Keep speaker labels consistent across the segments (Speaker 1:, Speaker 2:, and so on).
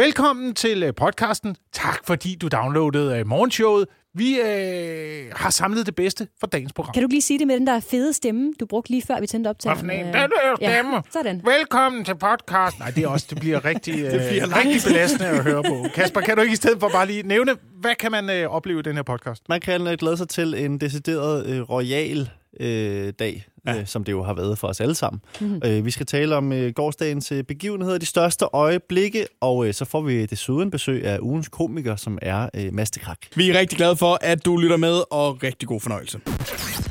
Speaker 1: Velkommen til øh, podcasten. Tak fordi du downloadede øh, morgenshowet. Vi øh, har samlet det bedste fra dagens program.
Speaker 2: Kan du ikke lige sige det med den der fede stemme, du brugte lige før vi tændte op til? Øh,
Speaker 1: Hvad for en? Den der stemme.
Speaker 2: Ja, sådan.
Speaker 1: Velkommen til podcast. Nej, det er også det bliver rigtig øh, det bliver rigtig belastende at høre på. Kasper, kan du ikke i stedet for bare lige nævne, hvad kan man øh, opleve i den her podcast?
Speaker 3: Man kan øh, glæde sig til en decideret øh, royal øh, dag, ja. øh, som det jo har været for os alle sammen. Mm-hmm. Øh, vi skal tale om øh, gårdsdagens øh, begivenheder, de største øjeblikke, og øh, så får vi desuden besøg af ugens komiker, som er øh, Mads de Krak.
Speaker 4: Vi er rigtig glade for, at du lytter med, og rigtig god fornøjelse.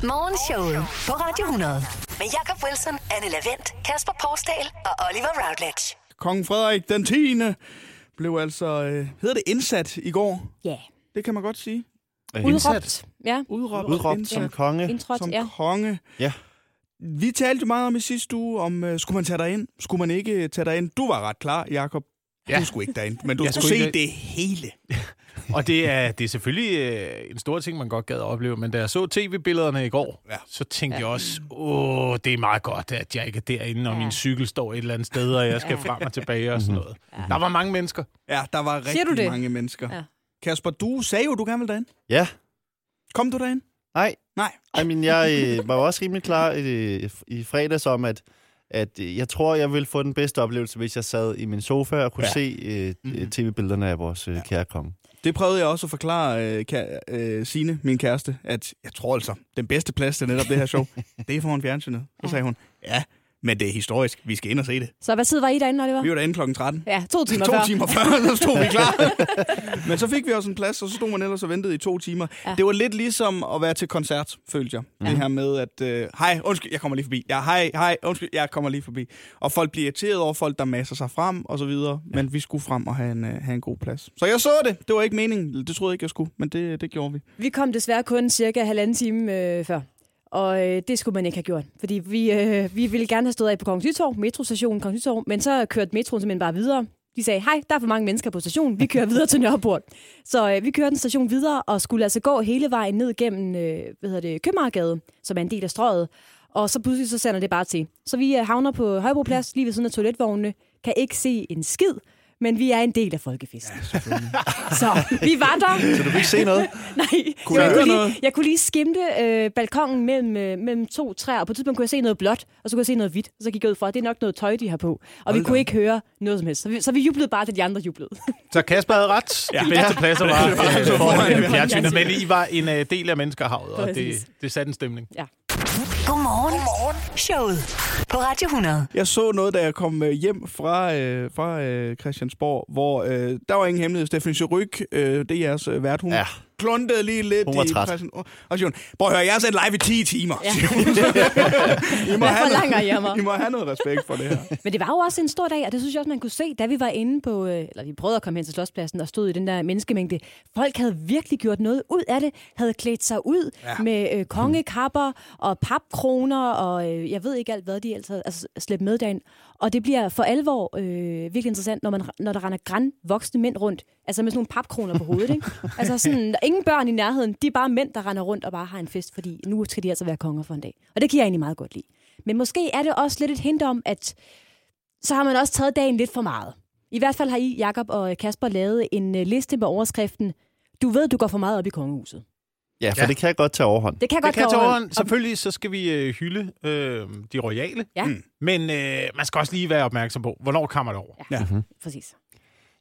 Speaker 5: Morgenshowet på Radio 100. Med Jakob Wilson, Anne Lavendt, Kasper Porsdal og Oliver Routledge.
Speaker 4: Kong Frederik den 10. blev altså, øh, hedder det indsat i går?
Speaker 2: Ja.
Speaker 4: Det kan man godt sige.
Speaker 3: Øh,
Speaker 2: Udråbt. Ja.
Speaker 4: Udråbt,
Speaker 3: Udråbt som
Speaker 4: indsat,
Speaker 3: konge.
Speaker 2: Indtrådt,
Speaker 4: som
Speaker 2: ja.
Speaker 4: konge.
Speaker 3: Ja.
Speaker 4: Vi talte jo meget om i sidste uge, om øh, skulle man tage dig ind? Skulle man ikke øh, tage dig ind? Du var ret klar, Jakob. Ja.
Speaker 1: Ja.
Speaker 4: Du skulle ikke derind, men du
Speaker 1: Jeg
Speaker 4: skulle
Speaker 1: skulle
Speaker 4: se
Speaker 1: ikke-
Speaker 4: det hele.
Speaker 1: Og det er, det er selvfølgelig øh, en stor ting, man godt gad at opleve, men da jeg så tv-billederne i går,
Speaker 4: Ja.
Speaker 1: ja. så tænkte ja. jeg også, åh, det er meget godt, at jeg ikke er derinde, og
Speaker 2: Ja.
Speaker 1: ja. min cykel står et eller andet sted, og jeg skal frem og tilbage og sådan noget. Der var mange mennesker.
Speaker 4: Ja, der var
Speaker 2: Siger du
Speaker 4: rigtig
Speaker 2: det?
Speaker 4: mange mennesker.
Speaker 2: Ja.
Speaker 4: Kasper, du sagde jo, du gerne ville derind.
Speaker 3: Ja,
Speaker 4: Kom du derind?
Speaker 3: nej.
Speaker 4: Nej.
Speaker 3: I mean, jeg øh, var jo også rimelig klar øh, i fredags om, at, at øh, jeg tror, jeg ville få den bedste oplevelse, hvis jeg sad i min sofa og kunne ja.
Speaker 4: Ja.
Speaker 3: se øh, mm-hmm. tv-billederne af vores øh, ja. kære konge.
Speaker 4: Det prøvede jeg også at forklare øh, ka- øh, Signe, min kæreste, at jeg tror altså, den bedste plads til netop det her show, det er foran fjernsynet. Så sagde hun, ja, men det er historisk. Vi skal ind og se det.
Speaker 2: Så hvad tid var I derinde, Oliver?
Speaker 4: Vi var derinde klokken 13.
Speaker 2: Ja, to timer
Speaker 4: to
Speaker 2: før.
Speaker 4: timer før, så stod vi klar. Men så fik vi også en plads, og så stod man ellers og ventede i to timer. Ja. Det var lidt ligesom at være til koncert, følte jeg. Ja. Det her med, at øh, hej, undskyld, jeg kommer lige forbi. Ja, hej, hej, undskyld, jeg kommer lige forbi. Og folk bliver irriteret over folk, der masser sig frem og så videre. Ja. Men vi skulle frem og have en, øh, have en god plads. Så jeg så det. Det var ikke meningen. Det troede jeg ikke, jeg skulle, men det, det gjorde vi.
Speaker 2: Vi kom desværre kun cirka halvanden time øh, før. Og øh, det skulle man ikke have gjort, fordi vi, øh, vi ville gerne have stået af på Kongens Nytorv, metrostationen Kongens Nytorv, men så kørte metroen simpelthen bare videre. De sagde, hej, der er for mange mennesker på stationen, vi kører videre til Nørreport. Så øh, vi kørte en station videre og skulle altså gå hele vejen ned gennem øh, hvad hedder det, Købmagergade, som er en del af strøget. Og så pludselig så sender det bare til. Så vi øh, havner på Højbroplads, lige ved siden af toiletvognene, kan ikke se en skid, men vi er en del af folkefesten. Ja, så vi var der.
Speaker 3: Så du kunne ikke se noget?
Speaker 2: Nej,
Speaker 4: Kunne
Speaker 2: jeg,
Speaker 4: I
Speaker 2: kunne
Speaker 4: høre
Speaker 2: lige,
Speaker 4: noget?
Speaker 2: jeg kunne lige skimte øh, balkongen mellem, øh, mellem to træer, og på et tidspunkt kunne jeg se noget blåt, og så kunne jeg se noget hvidt, og så gik jeg ud fra, at det er nok noget tøj, de har på. Og vi kunne ikke høre noget som helst, så vi, så vi jublede bare, da de andre jublede.
Speaker 1: Så Kasper havde ret. Ja. De bedste pladser var øh, foran øh, fjernsynet, men I var en øh, del af menneskehavet, og
Speaker 2: Præcis.
Speaker 1: det, det satte en stemning.
Speaker 5: Godmorgen. Godmorgen. Showet på Radio 100.
Speaker 4: Jeg så noget, da jeg kom øh, hjem fra, øh, fra øh, Christiansborg, hvor øh, der var ingen hemmelighed. Stephanie Cheryk, øh, det er jeres øh, vært, hun ja.
Speaker 3: Ja.
Speaker 4: kluntede lige lidt
Speaker 3: Hun var
Speaker 4: i
Speaker 3: træt.
Speaker 4: pressen. Og siger hun, prøv at høre, jeg har sendt live i 10 timer.
Speaker 2: Ja.
Speaker 4: Ja. I, må
Speaker 2: Hvad
Speaker 4: have
Speaker 2: forlanger I af
Speaker 4: noget,
Speaker 2: mig?
Speaker 4: I må have noget respekt for det her.
Speaker 2: Men det var jo også en stor dag, og det synes jeg også, man kunne se, da vi var inde på, øh, eller vi prøvede at komme hen til Slotspladsen og stod i den der menneskemængde. Folk havde virkelig gjort noget ud af det, havde klædt sig ud ja. med øh, kongekapper og papkroner og øh, jeg ved ikke alt, hvad de ellers havde altså, slæbt med derind. Og det bliver for alvor øh, virkelig interessant, når, man, når der render græn voksne mænd rundt, altså med sådan nogle papkroner på hovedet. Ikke? Altså sådan, der er ingen børn i nærheden, de er bare mænd, der render rundt og bare har en fest, fordi nu skal de altså være konger for en dag. Og det kan jeg egentlig meget godt lide. Men måske er det også lidt et hint om, at så har man også taget dagen lidt for meget. I hvert fald har I, Jakob og Kasper, lavet en øh, liste med overskriften Du ved, du går for meget op i kongehuset.
Speaker 3: Ja, for ja.
Speaker 1: Ja.
Speaker 3: det kan godt tage overhånd.
Speaker 2: Det kan
Speaker 1: Det
Speaker 2: godt
Speaker 1: kan
Speaker 2: gå
Speaker 1: tage
Speaker 2: over.
Speaker 1: overhånd. Selvfølgelig så skal vi øh, hylde øh, de royale,
Speaker 2: Ja.
Speaker 1: Mm. men øh, man skal også lige være opmærksom på, hvornår kommer det over.
Speaker 2: Præcis.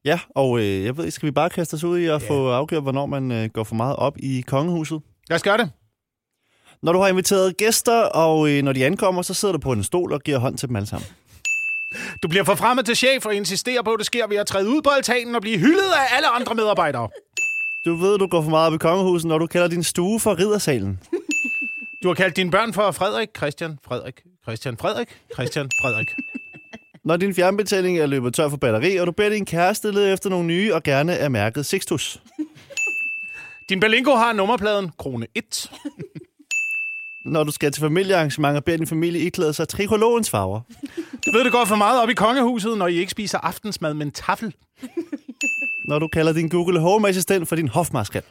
Speaker 3: Ja, og øh, jeg ved, ikke, skal vi bare kaste os ud i at ja. få afgjort, hvornår man øh, går for meget op i kongehuset?
Speaker 1: Lad os gøre det.
Speaker 3: Når du har inviteret gæster, og øh, når de ankommer, så sidder du på en stol og giver hånd til dem alle sammen.
Speaker 1: Du bliver forfremmet til chef og insisterer på, at det sker ved at træde ud på altanen og blive hyldet af alle andre medarbejdere.
Speaker 3: Du ved, du går for meget op i kongehuset, når du kalder din stue for riddersalen.
Speaker 1: Du har kaldt dine børn for Frederik, Christian, Frederik, Christian, Frederik, Christian, Frederik.
Speaker 3: Når din fjernbetjening er løbet tør for batteri, og du beder din kæreste lede efter nogle nye og gerne er mærket Sixtus.
Speaker 1: Din Berlingo har nummerpladen krone 1.
Speaker 3: Når du skal til familiearrangementer, beder din familie iklæde sig trikologens farver.
Speaker 1: Du ved, det går for meget op i kongehuset, når I ikke spiser aftensmad med en tafel.
Speaker 3: Når du kalder din Google Home-assistent for din hofmarskal.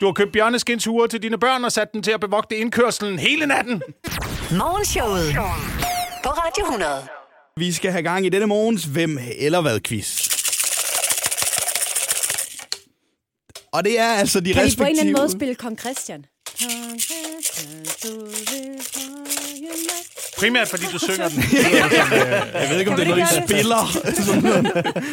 Speaker 1: Du har købt bjørneskinsure til dine børn og sat dem til at bevogte indkørselen hele natten.
Speaker 5: Morgenshowet på Radio 100.
Speaker 4: Vi skal have gang i denne morgens Hvem eller hvad quiz. Og det er altså
Speaker 2: Kan
Speaker 4: de
Speaker 2: I på
Speaker 4: respektive...
Speaker 2: en eller anden måde spille Kong Christian? Kong Christian, du vil fange mig.
Speaker 1: Primært fordi du synger den.
Speaker 4: Jeg ved ikke, om
Speaker 2: Kan
Speaker 4: det er
Speaker 2: man
Speaker 4: noget, I
Speaker 2: ikke
Speaker 4: spiller. Sådan noget.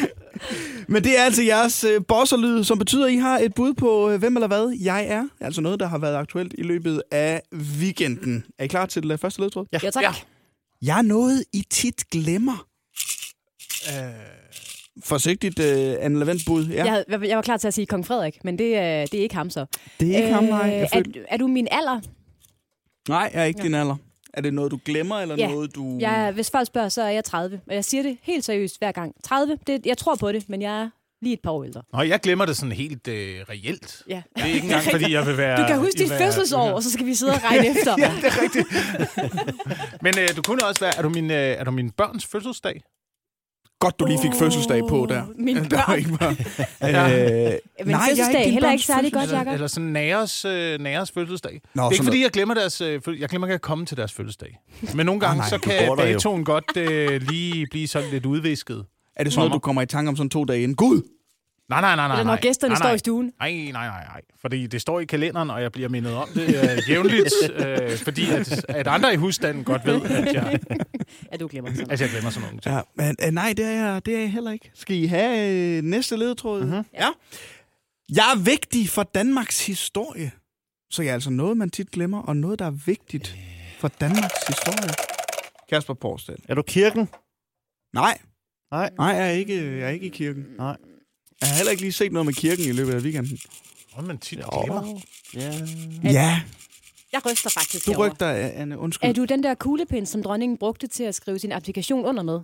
Speaker 4: Men det er altså jeres øh, bosserlyd, som betyder, at I har et bud på, øh, hvem eller hvad jeg er. Altså noget, der har været aktuelt i løbet af weekenden. Er I klar til øh, første ledtråd?
Speaker 2: Ja, tak.
Speaker 1: Ja.
Speaker 2: Ja.
Speaker 4: Jeg er noget, I tit glemmer. Øh... Forsigtigt, øh, Anne Lavendt bud. Ja.
Speaker 2: Jeg, havde, jeg var klar til at sige Kong Frederik, men det, øh, det er ikke ham så. Øh,
Speaker 4: Det er ikke ham, nej. Jeg
Speaker 2: er,
Speaker 4: følte-
Speaker 2: du- er du min alder?
Speaker 4: Nej, jeg er ikke ja. din alder. Er det noget, du glemmer, eller
Speaker 2: Ja.
Speaker 4: noget, du...
Speaker 2: Jeg, hvis folk spørger, så er jeg 30. Og jeg siger det helt seriøst hver gang. 30, det, jeg tror på det, men jeg er lige et par år ældre.
Speaker 1: Nå, jeg glemmer det sådan helt øh, reelt.
Speaker 2: Ja.
Speaker 1: Det er ikke engang, fordi jeg vil være...
Speaker 2: Du kan huske dit
Speaker 1: være-
Speaker 2: fødselsår, og så skal vi sidde og regne efter. ja, det er rigtigt.
Speaker 1: Men øh, du kunne også være... Er du, min, øh, er du min børns fødselsdag?
Speaker 4: Godt, du lige fik fødselsdag på der.
Speaker 2: Min
Speaker 4: Der var
Speaker 2: børn.
Speaker 4: ikke bare... øh...
Speaker 2: Men fødselsdag er
Speaker 4: din
Speaker 2: heller
Speaker 4: børns
Speaker 2: ikke særlig godt,
Speaker 4: fødselsdag.
Speaker 2: Jacob.
Speaker 1: Eller sådan næres, øh, næres fødselsdag.
Speaker 4: Nå,
Speaker 1: Nå, det er
Speaker 4: sådan
Speaker 1: ikke, fordi jeg glemmer deres... Øh, fød- jeg glemmer ikke at komme til deres fødselsdag. Men nogle gange,
Speaker 4: nej,
Speaker 1: ah, så
Speaker 4: du
Speaker 1: kan
Speaker 3: bor der jo.
Speaker 1: datoen godt øh, lige blive sådan lidt udvisket.
Speaker 4: Er det sådan noget, du kommer i tanke om sådan to dage inden? Gud!
Speaker 1: Nej, nej, nej, nej.
Speaker 2: Eller når
Speaker 1: nej.
Speaker 2: gæsterne
Speaker 1: nej,
Speaker 2: står
Speaker 1: nej.
Speaker 2: i stuen.
Speaker 1: Nej, nej, nej, nej. Fordi det står i kalenderen, og jeg bliver mindet om det øh, jævnligt. Øh, fordi at, at andre i husstanden godt ved, at jeg,
Speaker 2: Ja, du glemmer det sådan.
Speaker 1: at jeg glemmer sådan nogle ting.
Speaker 4: Ja, men øh, nej, det er, jeg, det er jeg heller ikke. Skal I have øh, næste ledtråd? Mm-hmm. Ja. Jeg er vigtig for Danmarks historie. Så jeg er altså noget, man tit glemmer, og noget, der er vigtigt for Danmarks historie. Kasper Porsdal.
Speaker 3: Er du kirken?
Speaker 4: Nej.
Speaker 3: Nej.
Speaker 4: Nej, jeg er, ikke, jeg er ikke i kirken.
Speaker 3: Nej.
Speaker 4: Jeg har heller ikke lige set noget med kirken i løbet af weekenden.
Speaker 1: Nå, men tit glemmer.
Speaker 3: Ja.
Speaker 4: Ja,
Speaker 2: Jeg ryster faktisk
Speaker 4: du
Speaker 2: herovre.
Speaker 4: rygter, Anne. Undskyld.
Speaker 2: Er du den der kuglepen, som dronningen brugte til at skrive sin applikation under med?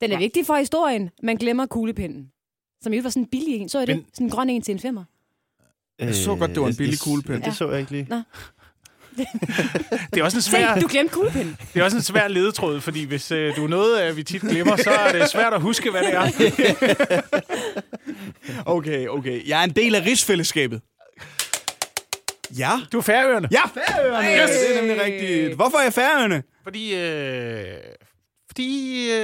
Speaker 2: Den er vigtig for historien. Man glemmer kuglepinden. Som jo var sådan en billig en. Så er det
Speaker 1: Men-
Speaker 2: sådan en grøn en til en femmer.
Speaker 4: Jeg så godt, det var en billig kuglepen.
Speaker 3: Ja, det så Øh, jeg ikke lige.
Speaker 2: Nå.
Speaker 1: Det er også en
Speaker 2: Se,
Speaker 1: svær,
Speaker 2: du glemte kuglepinden.
Speaker 1: det er også en svær ledetråd, fordi hvis øh, du er noget, øh, vi tit glemmer, så er det svært at huske, hvad det er.
Speaker 4: Okay, okay. Jeg er en del af rigsfællesskabet. Ja.
Speaker 1: Du er færøerne.
Speaker 4: Ja, færøerne! Yes. Det er nemlig rigtigt. Hvorfor er jeg færøerne?
Speaker 1: Fordi... Øh, fordi... Øh,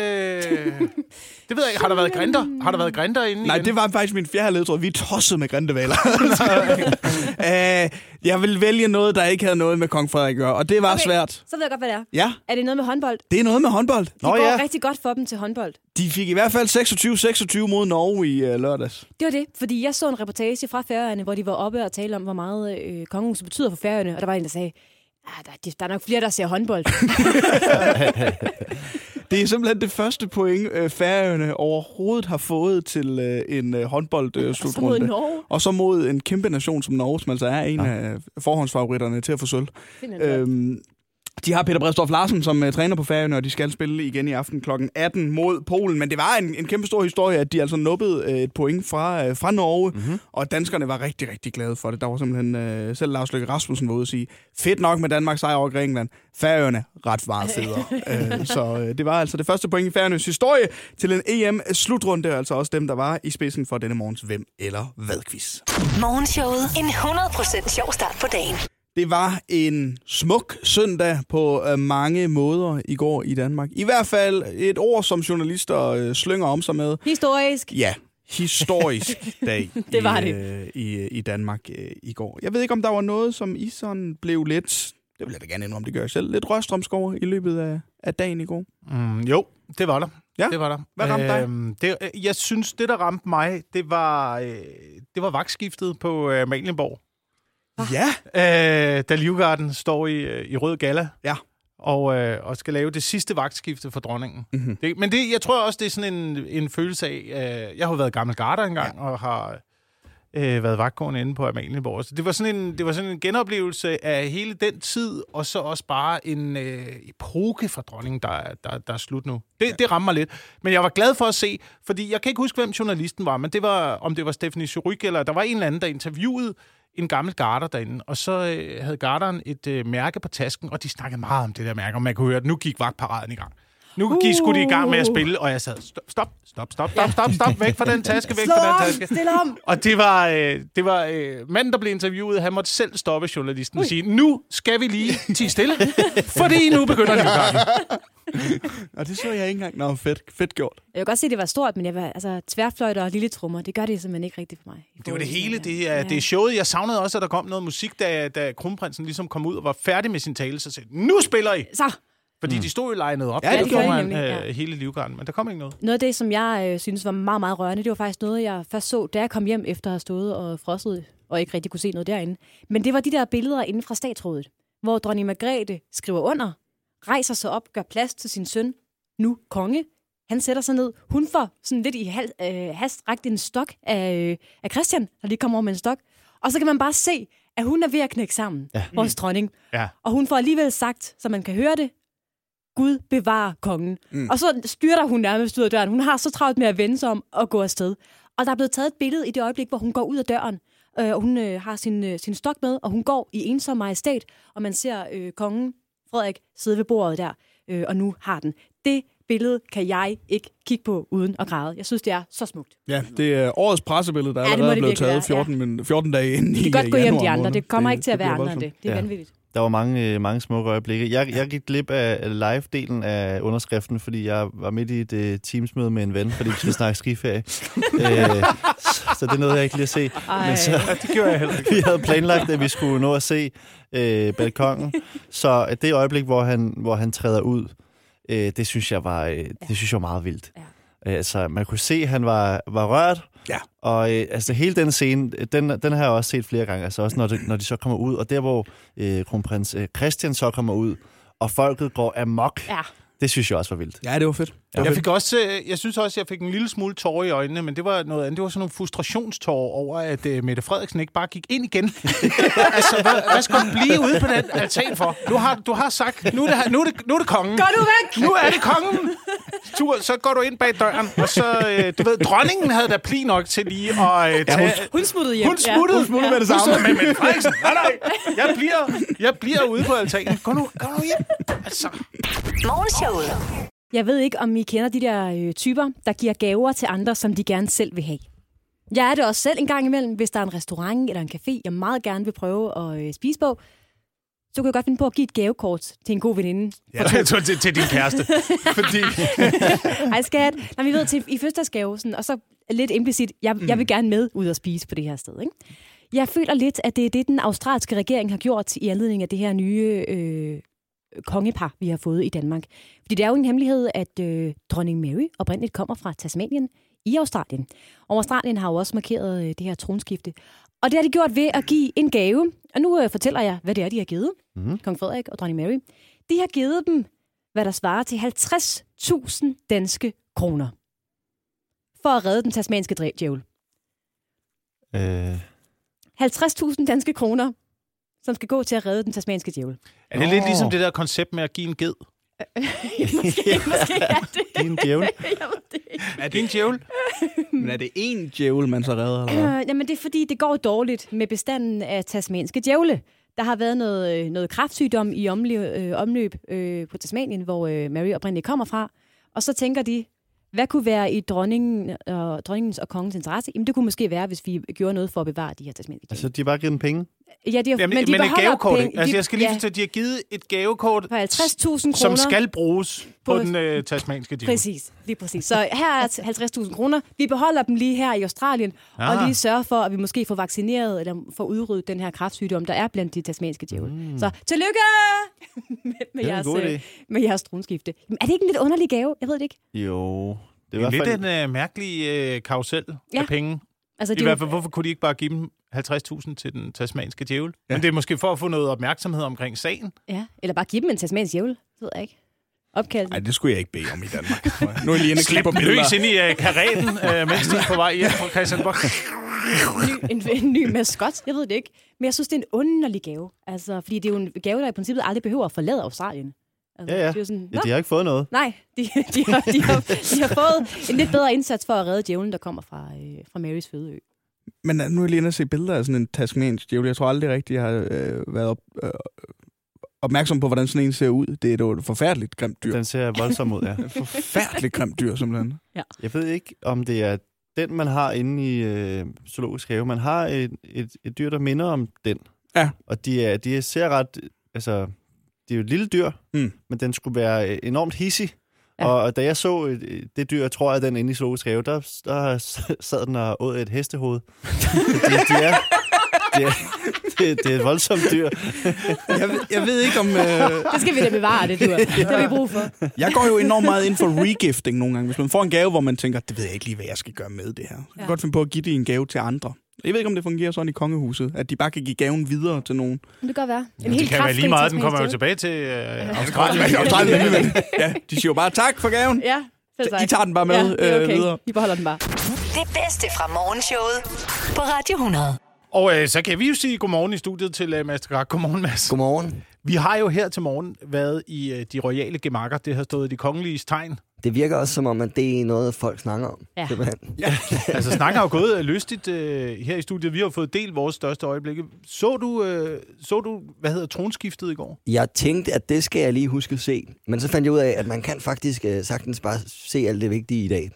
Speaker 1: det ved jeg ikke. Har der været grinder? Har der været grinder inde
Speaker 4: Nej,
Speaker 1: igen?
Speaker 4: det var faktisk min fjerde ledtråd. Vi er tosset med grindevaler. øh, jeg vil vælge noget, der ikke havde noget med kong Frederik at gøre, og det var okay. svært.
Speaker 2: Så ved jeg godt, hvad det er.
Speaker 4: Ja,
Speaker 2: Er det noget med håndbold? De
Speaker 4: det er noget med håndbold.
Speaker 2: Nå, går
Speaker 3: ja.
Speaker 2: rigtig godt for dem til håndbold.
Speaker 4: De fik i hvert fald 26-26 mod Norge i øh, lørdags.
Speaker 2: Det var det, fordi jeg så en reportage fra Færøerne, hvor de var oppe og talte om, hvor meget øh, kongehuset betyder for Færøerne. Og der var en, der sagde, "Ah, der, er- der er nok flere, der ser håndbold.
Speaker 4: Det er simpelthen det første point, øh, Færøerne overhovedet har fået til øh, en øh,
Speaker 2: Altså, Så mod
Speaker 4: håndbold-slutrunde.
Speaker 2: Norge.
Speaker 4: og så mod en kæmpe nation som Norge, som altså er en ja. af forhåndsfavoritterne til at få sølv.
Speaker 2: Finland.
Speaker 4: Øhm, de har Peter Bredstorff Larsen som uh, træner på Færøerne, og de skal spille igen i aften kl. 18 mod Polen. Men det var en, en kæmpe stor historie, at de altså nuppede uh, et point fra, uh, fra Norge, mm-hmm. og danskerne var rigtig, rigtig glade for det. Der var simpelthen uh, selv Lars Løkke Rasmussen var ude og sige, fedt nok med Danmarks sejr over Grækenland. Færøerne ret meget federe. uh, så uh, det var altså det første point i Færøernes historie til en EM-slutrunde, og altså også dem, der var i spidsen for denne morgens Hvem eller Hvad-quiz.
Speaker 5: Morgenshowet. En 100% sjov start på dagen.
Speaker 4: Det var en smuk søndag på øh, mange måder i går i Danmark. I hvert fald et ord, som journalister øh, slynger om sig med.
Speaker 2: Historisk.
Speaker 4: Ja, historisk dag
Speaker 2: Det var
Speaker 4: i,
Speaker 2: det.
Speaker 4: øh, i, øh, i Danmark øh, i går. Jeg ved ikke, om der var noget, som I sådan blev lidt, det vil jeg da gerne indrømme, det gør jeg selv, lidt røstrømskov i løbet af, af dagen i går.
Speaker 1: Mm, jo, det var der.
Speaker 4: Ja?
Speaker 1: Det var der.
Speaker 4: Hvad ramte dig?
Speaker 1: Øhm, det, øh, jeg synes, det, der ramte mig, det var, øh, det var vagtskiftet på øh, Malienborg.
Speaker 2: Ah.
Speaker 4: Ja,
Speaker 1: Øh, da Livgarden står i, øh, i rød gala.
Speaker 4: Ja.
Speaker 1: Og, øh, og skal lave det sidste vagtskifte for dronningen.
Speaker 4: Mhm.
Speaker 1: Det, men det, jeg tror også, det er sådan en, en følelse af... Øh, jeg har jo været gammel garder engang, ja. og har øh, været vagtgående inde på Amalienborg. Så det var, sådan en, det var sådan en genoplevelse af hele den tid, og så også bare en øh, epoke fra dronningen, der, er- der, der er slut nu. Det, ja. det rammer mig lidt. Men jeg var glad for at se, fordi jeg kan ikke huske, hvem journalisten var, men det var, om det var Stephanie Suryk, eller der var en eller anden, der interviewede en gammel garder derinde, og så øh, havde garderen et øh, mærke på tasken, og de snakkede meget om det der mærke, og man kunne høre, at nu gik vagtparaden i gang. Nu uh. gik skulle de i gang med at spille, og jeg sad, stop, stop, stop, stop, stop, stop, stop, væk fra den taske, væk
Speaker 2: Slå
Speaker 1: fra den
Speaker 2: om,
Speaker 1: taske.
Speaker 2: stille om.
Speaker 1: Og det var, øh, det var øh, manden, der blev interviewet, han måtte selv stoppe journalisten og sige, nu skal vi lige tige stille, fordi nu begynder det
Speaker 4: Og det så jeg ikke engang. Nå, fedt, fedt gjort.
Speaker 2: Jeg kan godt se, at det var stort, men jeg var, altså, tværfløjter og lille trommer, det gør det simpelthen ikke rigtigt for mig.
Speaker 1: Det var det hele, det er, det er showet. Jeg savnede også, at der kom noget musik, da, da kronprinsen ligesom kom ud og var færdig med sin tale, så sagde nu spiller I!
Speaker 2: Så,
Speaker 1: Fordi mm. de stod jo legnet op.
Speaker 4: Ja, det
Speaker 2: gjorde
Speaker 1: gjorde
Speaker 2: de
Speaker 1: man
Speaker 2: nemlig, ja.
Speaker 1: øh, hele livgarden, men der kom ikke noget.
Speaker 2: noget af det, som jeg øh, synes var meget, meget rørende, det var faktisk noget, jeg først så, da jeg kom hjem efter at have stået og frosset, og ikke rigtig kunne se noget derinde. Men det var de der billeder inde fra statsrådet, hvor dronning Margrethe skriver under, rejser sig op, gør plads til sin søn, nu konge. Han sætter sig ned. Hun får sådan lidt i hal, øh, hast rakt en stok af, øh, af Christian, der lige kommer over med en stok. Og så kan man bare se, at hun er ved at knække sammen, ja. vores dronning.
Speaker 1: Ja.
Speaker 2: Og hun får alligevel sagt, så man kan høre det, Gud bevarer kongen. Mm. Og så styrter hun nærmest ud af døren. Hun har så travlt med at vende sig om og gå afsted. Og der er blevet taget et billede i det øjeblik, hvor hun går ud af døren. Øh, og hun øh, har sin, øh, sin stok med, og hun går i ensom majestæt. Og man ser øh, kongen, Frederik, sidde ved bordet der. Øh, og nu har den. Det billede kan jeg ikke kigge på uden at græde. Jeg synes, det er så smukt.
Speaker 4: Ja, det er årets pressebillede, der
Speaker 2: Ja, det må
Speaker 4: allerede er
Speaker 2: det
Speaker 4: blevet
Speaker 2: virkelig være,
Speaker 4: taget 14, min- 14 dage inden i
Speaker 2: De kan godt
Speaker 4: øh,
Speaker 2: gå hjem, de
Speaker 4: januar
Speaker 2: andre.
Speaker 4: måned.
Speaker 2: Det kommer ikke til at være
Speaker 4: bliver
Speaker 2: andre end det.
Speaker 4: voldsomt.
Speaker 2: Det er
Speaker 3: Ja.
Speaker 2: vanvittigt.
Speaker 3: Der var mange, øh, mange smukke øjeblikke. Jeg, jeg gik glip af live-delen af underskriften, fordi jeg var midt i et øh, teamsmøde med en ven, fordi vi skulle snakke skiferie. øh, så, så det nåede jeg ikke lige at se.
Speaker 2: Ej.
Speaker 3: Men så,
Speaker 1: Ja, det gjorde jeg heller ikke.
Speaker 3: vi havde planlagt, at vi skulle nå at se øh, balkongen. Så øh, det øjeblik, hvor han, hvor han træder ud, øh, det, synes jeg var, øh, det synes jeg var meget vildt. Ja. Altså, man kunne se, at han var, var rørt.
Speaker 4: Ja.
Speaker 3: Og øh, altså, hele den scene, øh, den, den har jeg også set flere gange. Altså også, når de, når de så kommer ud. Og der, hvor øh, kronprins øh, Christian så kommer ud, og folket går amok.
Speaker 2: Ja.
Speaker 3: Det synes jeg også var vildt.
Speaker 4: Ja, det var fedt.
Speaker 1: Jeg, fik også, øh, jeg synes også, jeg fik en lille smule tårer i øjnene, men det var noget andet. Det var sådan nogle frustrationstårer over, at øh, Mette Frederiksen ikke bare gik ind igen. altså, hvad, hvad skal hun blive ude på den altan for? Du har, du har sagt, nu er det, her- nu er det, nu er det kongen.
Speaker 2: Gå nu væk!
Speaker 1: Nu er det kongen! Tur, så går du ind bag døren, og så, øh, du ved, dronningen havde da pli nok til lige at øh, tage... Ja,
Speaker 2: Hun smuttede hjem.
Speaker 1: hun smuttede.
Speaker 4: Hun smuttede med det samme.
Speaker 1: Hun smuttede med Mette Frederiksen. Nej, nej. Jeg bliver, jeg bliver ude på altanen. Gå nu, gå nu hjem. Altså.
Speaker 5: Morgenshowet.
Speaker 2: Jeg ved ikke, om I kender de der øh, typer, der giver gaver til andre, som de gerne selv vil have. Jeg er det også selv en gang imellem, hvis der er en restaurant eller en café, jeg meget gerne vil prøve at øh, spise på. Så kan jeg godt finde på at give et gavekort til en god veninde.
Speaker 1: Ja, til, til, til din kæreste. Fordi...
Speaker 2: Ej, skat. Nå, men I ved, til, i fødselsdagsgave, sådan, og så lidt implicit, jeg, mm. jeg vil gerne med ud og spise på det her sted. Ikke? Jeg føler lidt, at det er det, den australske regering har gjort i anledning af det her nye øh, kongepar, vi har fået i Danmark. Fordi det er jo en hemmelighed, at øh, dronning Mary oprindeligt kommer fra Tasmanien i Australien. Og Australien har jo også markeret øh, det her tronskifte. Og det har de gjort ved at give en gave. Og nu øh, fortæller jeg, hvad det er, de har givet. Mm. Kong Frederik og dronning Mary. De har givet dem, hvad der svarer til 50.000 danske kroner. For at redde den tasmanske dræ- djævel.
Speaker 3: Øh,
Speaker 2: 50.000 danske kroner, som skal gå til at redde den tasmanske djævel.
Speaker 1: Er det lidt
Speaker 3: Nå.
Speaker 1: ligesom det der koncept med at give en ged?
Speaker 2: måske, måske er det.
Speaker 3: det er en djævel.
Speaker 2: Jeg ved det ikke.
Speaker 1: Er det en djævel?
Speaker 4: Men er det én djævel, man så redder? Eller? hvad?
Speaker 2: Øh, jamen, det er fordi, det går dårligt med bestanden af tasmanske djævle. Der har været noget, øh, noget kraftsygdom i omløb, øh, omløb øh, på Tasmanien, hvor øh, Mary oprindeligt kommer fra. Og så tænker de, hvad kunne være i dronningen, øh, dronningens og kongens interesse? Jamen, det kunne måske være, hvis vi gjorde noget for at bevare de her tasmanske djævle.
Speaker 3: Altså, de har bare givet dem penge.
Speaker 2: Ja, de har,
Speaker 1: Jamen, men,
Speaker 2: de
Speaker 1: men et
Speaker 2: beholder
Speaker 1: gavekort,
Speaker 2: penge-
Speaker 1: ikke? Altså,
Speaker 2: de-
Speaker 1: jeg skal lige
Speaker 2: ja,
Speaker 1: forstå, at de har givet et gavekort,
Speaker 2: på 50.000 kroner.
Speaker 1: som skal bruges på,
Speaker 2: På-
Speaker 1: den øh, tasmanske djævel.
Speaker 2: Præcis, lige præcis. Så her er 50.000 kroner. Vi beholder dem lige her i Australien, ah. og
Speaker 1: Ah.
Speaker 2: lige sørger for, at vi måske får vaccineret eller får udryddet den her kræftsygdom, der er blandt de tasmanske djævel. Mm. Så tillykke med, med,
Speaker 3: en
Speaker 2: jeres,
Speaker 3: god
Speaker 2: øh,
Speaker 3: idé.
Speaker 2: med jeres tronskifte. Jamen, er det ikke en lidt underlig gave? Jeg ved det ikke.
Speaker 3: Jo, det er i
Speaker 1: Det er
Speaker 3: hvert
Speaker 1: lidt
Speaker 3: fald...
Speaker 1: en øh, mærkelig øh, karusel ja.
Speaker 2: Ja.
Speaker 1: af penge.
Speaker 2: Altså,
Speaker 1: I
Speaker 2: er jo-
Speaker 1: hvert fald, hvorfor kunne de ikke bare give dem 50.000 til den tasmanske djævel? Ja. Men det er måske for at få noget opmærksomhed omkring sagen.
Speaker 2: ja, eller bare give dem en tasmansk djævel. Det ved jeg ikke. Opkaldt.
Speaker 4: Nej, det skulle jeg ikke bede om i Danmark. nu er jeg lige inde og klippe
Speaker 1: Øh. Slip
Speaker 4: på
Speaker 1: dem
Speaker 4: billeder.
Speaker 1: løs ind i øh, karaten, øh, mens de er på vej hjem fra Christiansborg.
Speaker 2: en, en ny maskot. Jeg ved det ikke. Men jeg synes, det er en underlig gave. Altså, fordi det er jo en gave, der i princippet aldrig behøver at forlade Australien. Altså,
Speaker 3: Ja, ja.
Speaker 2: Det er jo sådan,
Speaker 3: Ja,
Speaker 2: Nå,
Speaker 3: de har ikke fået noget.
Speaker 2: Nej, de, de, har, de, har, de har fået en lidt bedre indsats for at redde djævlen, der kommer fra, øh, fra Marys fødeø.
Speaker 4: Men øh, nu er jeg lige inde og se billeder af sådan en tasmansk djævel. Jeg tror aldrig rigtig, jeg har øh, været op, øh, opmærksom på, hvordan sådan en ser ud. Det er jo et forfærdeligt grimt dyr.
Speaker 3: Den ser voldsom ud, ja.
Speaker 4: Forfærdeligt grimt dyr, simpelthen.
Speaker 3: Jeg ved ikke, om det er den, man har inde i øh, zoologisk have. Man har et, et, et dyr, der minder om den.
Speaker 4: Ja.
Speaker 3: Og de, er, de ser ret... Altså, det er jo et lille dyr,
Speaker 4: Mm.
Speaker 3: mm. men den skulle være øh, enormt hissig.
Speaker 2: Ja.
Speaker 3: Ja. Og, og da jeg så øh, det dyr, tror jeg, den inde i zoologisk have, der, der sad den og åd et hestehoved. det, det, er, det, er, det, det er et voldsomt dyr.
Speaker 4: Jeg, ved- jeg ved ikke om... Øh,
Speaker 2: Det skal vi da bevare, det du. Det har vi brug for.
Speaker 4: jeg går jo enormt meget ind for regifting nogle gange. Hvis man får en gave, hvor man tænker, det ved jeg ikke lige, hvad jeg skal gøre med det her. Så kan
Speaker 2: Ja.
Speaker 4: ja. godt finde på at give det i en gave til andre. Jeg ved ikke, om det fungerer sådan i kongehuset, at de bare kan give gaven videre til nogen.
Speaker 2: Men det kan godt være. En
Speaker 1: det kan være
Speaker 2: kraftfri
Speaker 1: lige meget, den
Speaker 2: tasmansk
Speaker 1: kommer jo
Speaker 2: tæve.
Speaker 1: tilbage til øh,
Speaker 4: Australien.
Speaker 1: Australien.
Speaker 4: Australien alligevel. Ja, de siger jo bare tak for gaven.
Speaker 2: Ja, selv
Speaker 4: I tager den bare med,
Speaker 2: ja, det er
Speaker 4: øh,
Speaker 2: okay.
Speaker 4: videre.
Speaker 2: I beholder den bare.
Speaker 5: Det bedste fra morgenshowet på Radio 100.
Speaker 1: Og øh, så kan vi jo sige godmorgen i studiet til øh, Mads Drak. Godmorgen, Mads.
Speaker 6: Godmorgen.
Speaker 1: Vi har jo her til morgen været i øh, de royale gemakker. Det har stået i de kongelige tegn.
Speaker 6: Det virker også som om, at det er noget, folk snakker om.
Speaker 2: Ja.
Speaker 6: simpelthen.
Speaker 1: Altså, snakker har jo gået øh, lystigt øh, her i studiet. Vi har fået delt vores største øjeblikke. Så du, øh, så du hvad hedder tronskiftet i går?
Speaker 6: Jeg tænkte, at det skal jeg lige huske at se. Men så fandt jeg ud af, at man kan faktisk øh, sagtens bare se alt det vigtige i dag.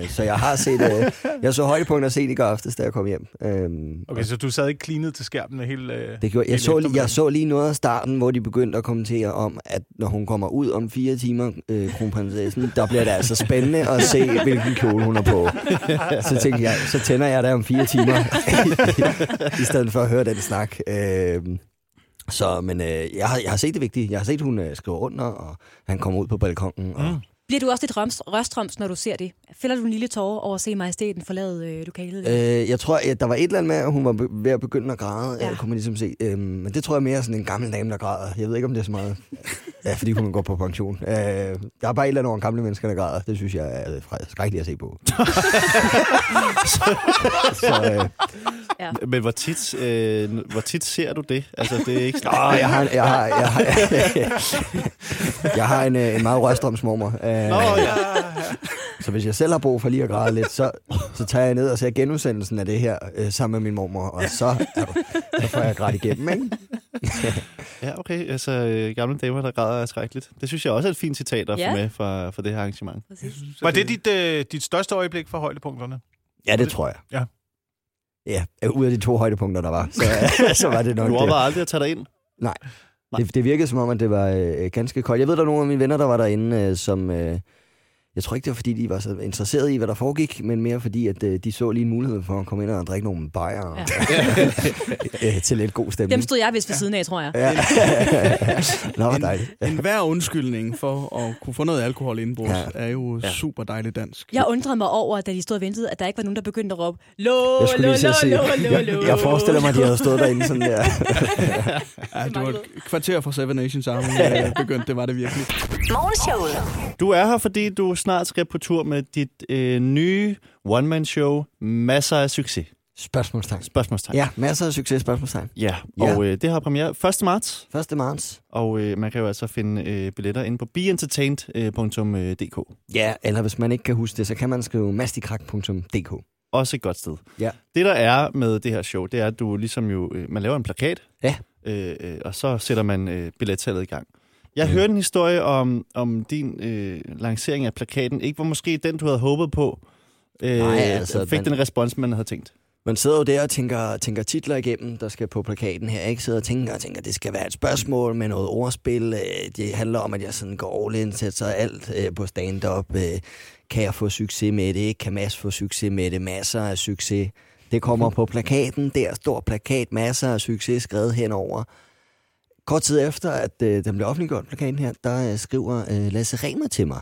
Speaker 6: Øh, så jeg har set... Øh, jeg så højdepunkter set i går aftes, da jeg kom hjem. Øh,
Speaker 1: Okay, så du sad ikke cleanet til skærmen hele... Øh,
Speaker 6: Det gjorde, jeg,
Speaker 1: hele
Speaker 6: så, lige-
Speaker 1: eftermiddagen.
Speaker 6: jeg så lige noget af starten, hvor de begyndte at kommentere om, at når hun kommer ud om fire timer, øh, kronprinsessen, der bliver det altså spændende at se, hvilken kjole hun er på. Så tænkte jeg, så tænder jeg der om fire timer, i stedet for at høre den snak. Øh, så, men øh, jeg, har, jeg har set det vigtige. Jeg har set, hun øh, skriver under, og han kommer ud på balkongen. Og, mm.
Speaker 2: Bliver du også lidt røms, røstroms, når du ser det? Fælder du en lille tårer over at se majestæten forlade øh, lokalet? Øh.
Speaker 6: øh, jeg tror, at der var et eller andet med, at hun var be- ved at begynde at græde,
Speaker 2: Ja.
Speaker 6: ja. kunne man ligesom se. Øh, men det tror jeg mere er sådan en gammel dame, der græder. Jeg ved ikke, om det er så meget Ja, fordi hun går på pension. Øh, der er bare et eller andet over gamle mennesker, der græder. Det synes jeg er fra- skrækkeligt at se på. så, så øh,
Speaker 3: Men hvor tit, øh, hvor tit ser du det? Altså, det er ikke...
Speaker 6: åh, jeg, har en, jeg, har, jeg, har, jeg har en, øh, en meget røstrømsmormor. Øh,
Speaker 3: ja.
Speaker 6: så hvis jeg selv har brug for lige at græde lidt, så, så tager jeg ned og ser genudsendelsen af det her øh, sammen med min mormor. Og så, er du- så får jeg grædt igennem, ikke?
Speaker 3: ja, okay. Altså, øh, gamle damer, der græder er skrækkeligt. Det synes jeg også er et fint citat at
Speaker 2: Ja.
Speaker 3: få med fra, fra det her arrangement.
Speaker 1: Var det dit, øh, dit største øjeblik for højdepunkterne?
Speaker 6: Ja, det tror jeg.
Speaker 1: Ja.
Speaker 6: Ja, ud af de to højdepunkter, der var, så, så var det nok
Speaker 3: Du
Speaker 6: det.
Speaker 3: overvejer aldrig at tage dig ind.
Speaker 6: Det, det virkede som om, at det var øh, ganske koldt. Jeg ved, der er nogle af mine venner, der var derinde, øh, som... Øh, jeg tror ikke, det var, fordi de var så interesserede i, hvad der foregik, men mere fordi, at øh, de så lige en mulighed for at komme ind og drikke nogle bajer ja. øh, til lidt god stemning.
Speaker 2: Dem stod jeg vist ved siden af, tror jeg.
Speaker 6: ja. Nå, hvor dejligt.
Speaker 4: En hver undskyldning for at kunne få noget alkohol indbords
Speaker 6: Ja.
Speaker 4: ja. er jo ja. super dejligt dansk.
Speaker 2: Jeg undrede mig over, da de stod og ventede, at der ikke var nogen, der begyndte at råbe, lå,
Speaker 6: Jeg skulle
Speaker 2: lå,
Speaker 6: lige til at sige,
Speaker 2: lå, lå, lå,
Speaker 6: jeg, jeg forestiller mig, at de havde stået derinde sådan der.
Speaker 4: Ja, det var
Speaker 2: manglede.
Speaker 4: et kvarter fra Seven Nations Army, jeg begyndte. Det var det virkelig.
Speaker 5: Morgenshowet.
Speaker 3: Du er her, fordi du snart skal på tur med dit øh, nye one-man-show, Masser af succes.
Speaker 6: Spørgsmålstegn.
Speaker 3: Spørgsmålstegn.
Speaker 6: Ja, masser af succes, spørgsmålstegn.
Speaker 3: ja.
Speaker 6: Ja.
Speaker 3: Og øh, det har premiere 1. marts,
Speaker 6: 1. marts.
Speaker 3: og øh, man kan jo altså finde øh, billetter inde på øh, beentertained.dk.
Speaker 6: Ja, eller hvis man ikke kan huske det, så kan man skrive mastikrak.dk.
Speaker 3: Også et godt sted.
Speaker 6: Ja.
Speaker 3: Det, der er med det her show, det er, at du ligesom jo, øh, man laver en plakat,
Speaker 6: Ja.
Speaker 3: øh, øh, og så sætter man øh, billettallet i gang. Jeg hørte en historie om, om din øh, lancering af plakaten, ikke var måske den, du havde håbet på, øh,
Speaker 6: Nej, altså,
Speaker 3: fik
Speaker 6: man-
Speaker 3: den respons, man havde tænkt.
Speaker 6: Man sidder jo der og tænker, tænker titler igennem, der skal på plakaten her. Ikke sidder og tænker og tænker, det skal være et spørgsmål med noget ordspil. øh, Det handler om, at jeg sådan går all in, sætter alt øh, på stand-up. øh, Kan jeg få succes med det? Kan Mads få succes med det? Masser af succes. Det kommer på plakaten. Der står plakat, masser af succes skrevet henover. Kort tid efter, at øh, den blev offentliggjort, plakaten her, der øh, skriver øh, Lasse Remer til mig.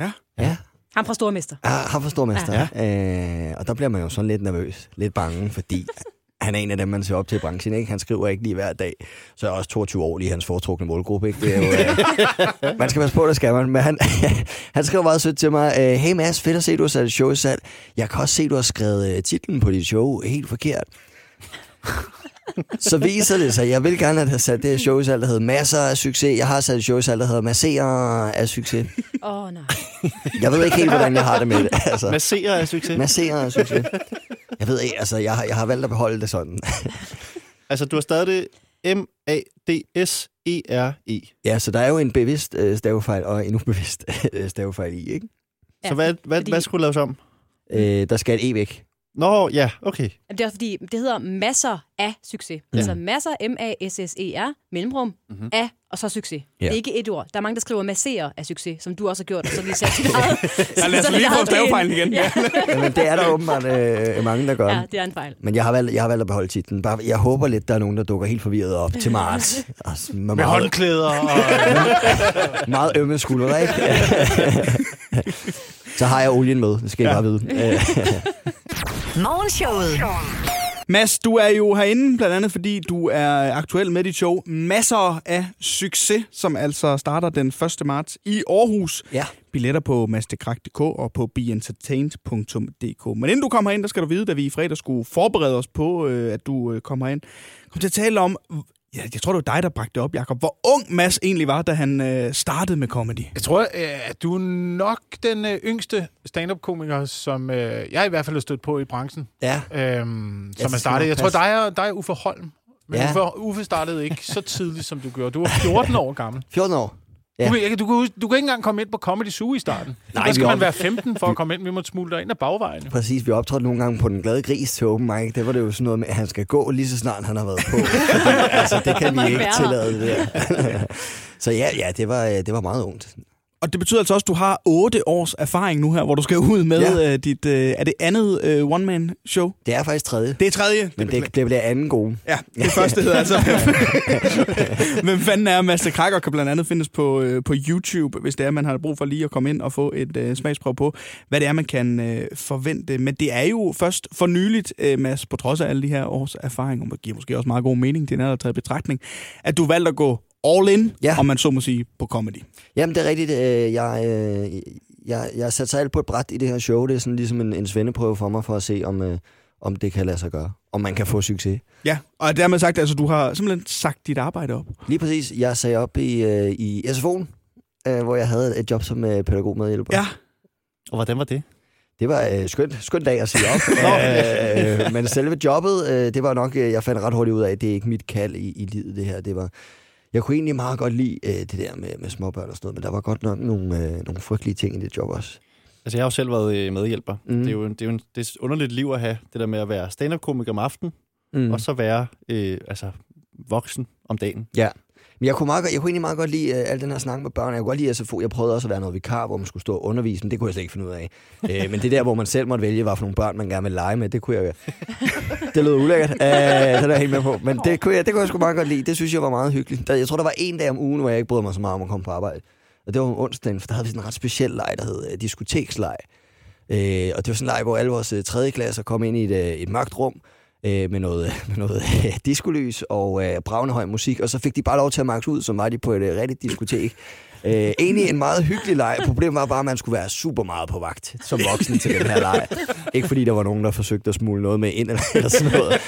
Speaker 4: Ja.
Speaker 6: Ja,
Speaker 2: Ham fra Stormester.
Speaker 6: Ah, ham fra Stormester. Ja. Øh, og der bliver man jo sådan lidt nervøs, lidt bange, fordi han er en af dem, man ser op til i branchen. Ikke? Han skriver ikke lige hver dag. Så er jeg også 22 år lige i hans foretrukne målgruppe. Ikke? Det er jo, øh, man skal passe på, det skal man. Men han, han skrev meget sødt til mig. øh, Hey Mads, fedt at se, du har sat et show i salg. Jeg kan også se, du har skrevet øh, titlen på dit show helt forkert. Så viser det sig, jeg vil gerne have sat det her show i salg, der hedder Masser af Succes. Jeg har sat et show i salg, der hedder Masserer af Succes.
Speaker 2: Åh, oh, nej.
Speaker 6: Jeg ved ikke helt, hvordan jeg har det med det. Altså.
Speaker 3: Masserer af succes.
Speaker 6: Masserer og succes. Jeg ved ikke, altså, jeg, har- jeg har valgt at beholde det sådan.
Speaker 3: altså, du har stadig det E M-A-D-S-E-R-E.
Speaker 6: Ja, så der er jo en bevidst øh, stavefejl og en ubevidst øh, stavefejl i, ikke?
Speaker 3: Så hvad, hvad,
Speaker 2: fordi-
Speaker 3: hvad skulle laves om?
Speaker 6: Øh, der skal et E væk.
Speaker 3: Nå, ja, okay.
Speaker 2: Jamen, Det er også fordi, det hedder masser af succes. Ja. Altså masser, M-A-S-S-E-R, E mellemrum, mm-hmm.
Speaker 4: Mhm.
Speaker 2: af, og så succes. Ja. Det er ikke et ord. Der er mange, der skriver masserer af succes, som du også har gjort, og så lige sat dit eget.
Speaker 4: Ja, lad os
Speaker 2: så
Speaker 4: lige
Speaker 2: dit
Speaker 4: få
Speaker 2: eget
Speaker 4: stavefejlen
Speaker 2: ind.
Speaker 4: igen. Ja.
Speaker 6: Jamen, det er der åbenbart øh, mange, der gør.
Speaker 2: Ja, det er en fejl.
Speaker 6: Men jeg har, valgt, jeg har valgt at beholde titlen. Bare, jeg håber lidt, der er nogen, der dukker helt forvirret op til marts. Altså, med
Speaker 1: Med
Speaker 6: meget,
Speaker 1: håndklæder og...
Speaker 6: meget ømme skuldre, ikke? Så har jeg olien med, det skal jeg bare vide. Øh,
Speaker 5: Morgenshowet.
Speaker 4: Mads, du er jo herinde, blandt andet fordi du er aktuel med dit show Masser af Succes, som altså starter den 1. marts i Aarhus.
Speaker 6: ja.
Speaker 4: Billetter på mastekrak.dk og på beentertained.dk. Men inden du kommer ind, der skal du vide, at vi i fredag skulle forberede os på, øh, at du øh, kommer ind. Kom til at tale om, ja, jeg tror det var dig, der bragte det op, Jacob, hvor ung Mads egentlig var, da han øh, startede med comedy.
Speaker 1: Jeg tror, øh, at du er nok den øh, yngste stand-up-komiker, som øh, jeg i hvert fald har stødt på i branchen,
Speaker 6: ja.
Speaker 1: øhm,
Speaker 6: skal
Speaker 1: som er startet.
Speaker 6: nok
Speaker 1: Jeg tror,
Speaker 6: passe.
Speaker 1: dig og, dig og Uffe Holm. Men
Speaker 6: Ja.
Speaker 1: ja. Uffe, Uffe startede ikke så tidligt, som du gjorde. Du var 14 år gammel.
Speaker 6: 14 år.
Speaker 1: Ja.
Speaker 6: Ja.
Speaker 1: Du, kan, ikke- du, kan, huske- du kan ikke engang komme ind på Comedy Zoo i starten. Nej,
Speaker 6: vi
Speaker 1: der skal man
Speaker 6: opdagede-
Speaker 1: være 15 for at komme ind. Vi måtte smule dig ind ad bagvejen. jo.
Speaker 6: Præcis, vi optrådte nogle gange på Den Glade Gris til Open Mic. Der var det jo sådan noget med, at han skal gå lige så snart han har været på. altså, det kan
Speaker 2: må
Speaker 6: vi
Speaker 2: ikke
Speaker 6: ikke
Speaker 2: være her.
Speaker 6: tillade det der. så ja, ja det, var, øh, det var meget ungt.
Speaker 4: Og det betyder altså også, at du har 8 års erfaring nu her, hvor du skal ud med ja.
Speaker 6: Ja.
Speaker 4: øh, dit, øh, er det andet øh, one-man-show?
Speaker 6: Det er faktisk tredje.
Speaker 4: Det er tredje.
Speaker 6: Men det, det bliver anden gode.
Speaker 4: Ja, det første hedder altså. Hvem fanden er Master Krakker kan blandt andet findes på, øh, på YouTube, hvis det er, man har brug for lige at komme ind og få et øh, smagsprøve på, hvad det er, man kan øh, forvente. Men det er jo først for nyligt, øh, Mads, på trods af alle de her års erfaring, og det giver måske også meget god mening, det er nærmere taget i betragtning, at du valgte at gå all in, ja.
Speaker 6: Ja.
Speaker 4: om man så må sige, på comedy.
Speaker 6: Jamen, det er rigtigt. Øh, jeg, øh, jeg, jeg satte sig alt på et bræt i det her show. Det er sådan ligesom en, en svendeprøve for mig, for at se, om, øh, om det kan lade sig gøre. Om man kan få succes.
Speaker 4: Ja, og dermed sagt, altså du har simpelthen sagt dit arbejde op.
Speaker 6: Lige præcis. Jeg sagde op i, øh, i SFO'en, øh, hvor jeg havde et job som øh, pædagog medhjælper.
Speaker 4: Ja.
Speaker 3: Og hvordan var det?
Speaker 6: Det var øh, skønt, skønt dag at sige op. øh, øh, men selve jobbet, øh, det var nok, øh, jeg fandt ret hurtigt ud af, at det er ikke mit kald i, i livet, det her. Det var, jeg kunne egentlig meget godt lide øh, det der med, med småbørn og sådan noget, men der var godt nok nogle, øh, nogle frygtelige ting i det job også.
Speaker 3: Altså, jeg har jo selv været øh, medhjælper.
Speaker 6: Mm.
Speaker 3: Mm. Det er jo, en- det er jo en, det er et underligt liv at have, det der med at være stand-up-komiker om aftenen,
Speaker 6: Mm.
Speaker 3: mm. og så være øh, altså, voksen om dagen.
Speaker 6: Ja. Men jeg kunne, meget, godt- jeg kunne egentlig meget godt lide øh, al den her snak med børn. Jeg kunne godt lide SFO. Jeg prøvede også at være noget vikar, hvor man skulle stå og undervise, men det kunne jeg slet ikke finde ud af. Øh, men det der, hvor man selv måtte vælge, hvad for nogle børn man gerne ville lege med, det kunne jeg Det lød ulækkert. Øh, det er jeg helt med på. Men det kunne, jeg, det kunne jeg sgu meget godt lide. Det synes jeg var meget hyggeligt. Der- Jeg tror, der var en dag om ugen, hvor jeg ikke brød mig så meget om at komme på arbejde. Og det var om onsdagen, for der havde vi sådan en ret speciel leg, der hed øh, diskoteksleg. Øh, og det var sådan en leg, hvor alle vores øh, tredje klasser kom ind i et, øh, et mørkt rum øh, med noget, med noget øh, diskolys og øh, bravende høj musik, og så fik de bare lov til at makse ud, som var de på et øh, rigtigt diskotek. Øh, egentlig en meget hyggelig leg. Problemet var bare, at man skulle være super meget på vagt som voksen til den her leg. Ikke fordi der var nogen, der forsøgte at smule noget med ind eller, eller sådan noget.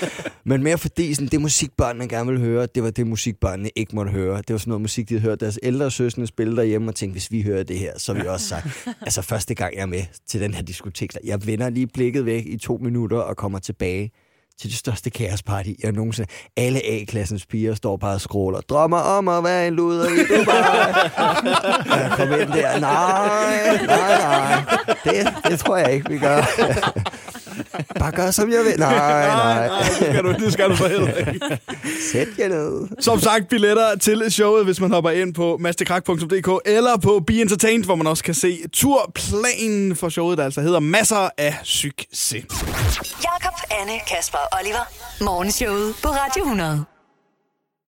Speaker 6: Men mere fordi sådan, det musik, børnene gerne ville høre, det var det musik, børnene ikke måtte høre. Det var sådan noget musik, de havde hørt deres ældre søskende spille derhjemme og tænkte, hvis vi hører det her, så er vi også sagt. Altså første gang jeg er med til den her diskotek, jeg vender lige blikket væk i to minutter og kommer tilbage til det største kaosparty, jeg nogensinde... Alle A-klassens piger står bare og skråler, drømmer om at være en luder i Dubai. Og jeg kom ind der, nej, nej, nej. Det, det tror jeg ikke, vi gør. bare gør, som jeg vil. Nej, nej.
Speaker 4: det skal du, det skal du for helvede ikke.
Speaker 6: Sæt jer ned.
Speaker 4: Som sagt, billetter til showet, hvis man hopper ind på mastekrak.dk eller på Be Entertained, hvor man også kan se turplanen for showet, der altså hedder Masser af Succes.
Speaker 5: Jakob, Anne, Kasper og Oliver. Morgenshowet på Radio 100.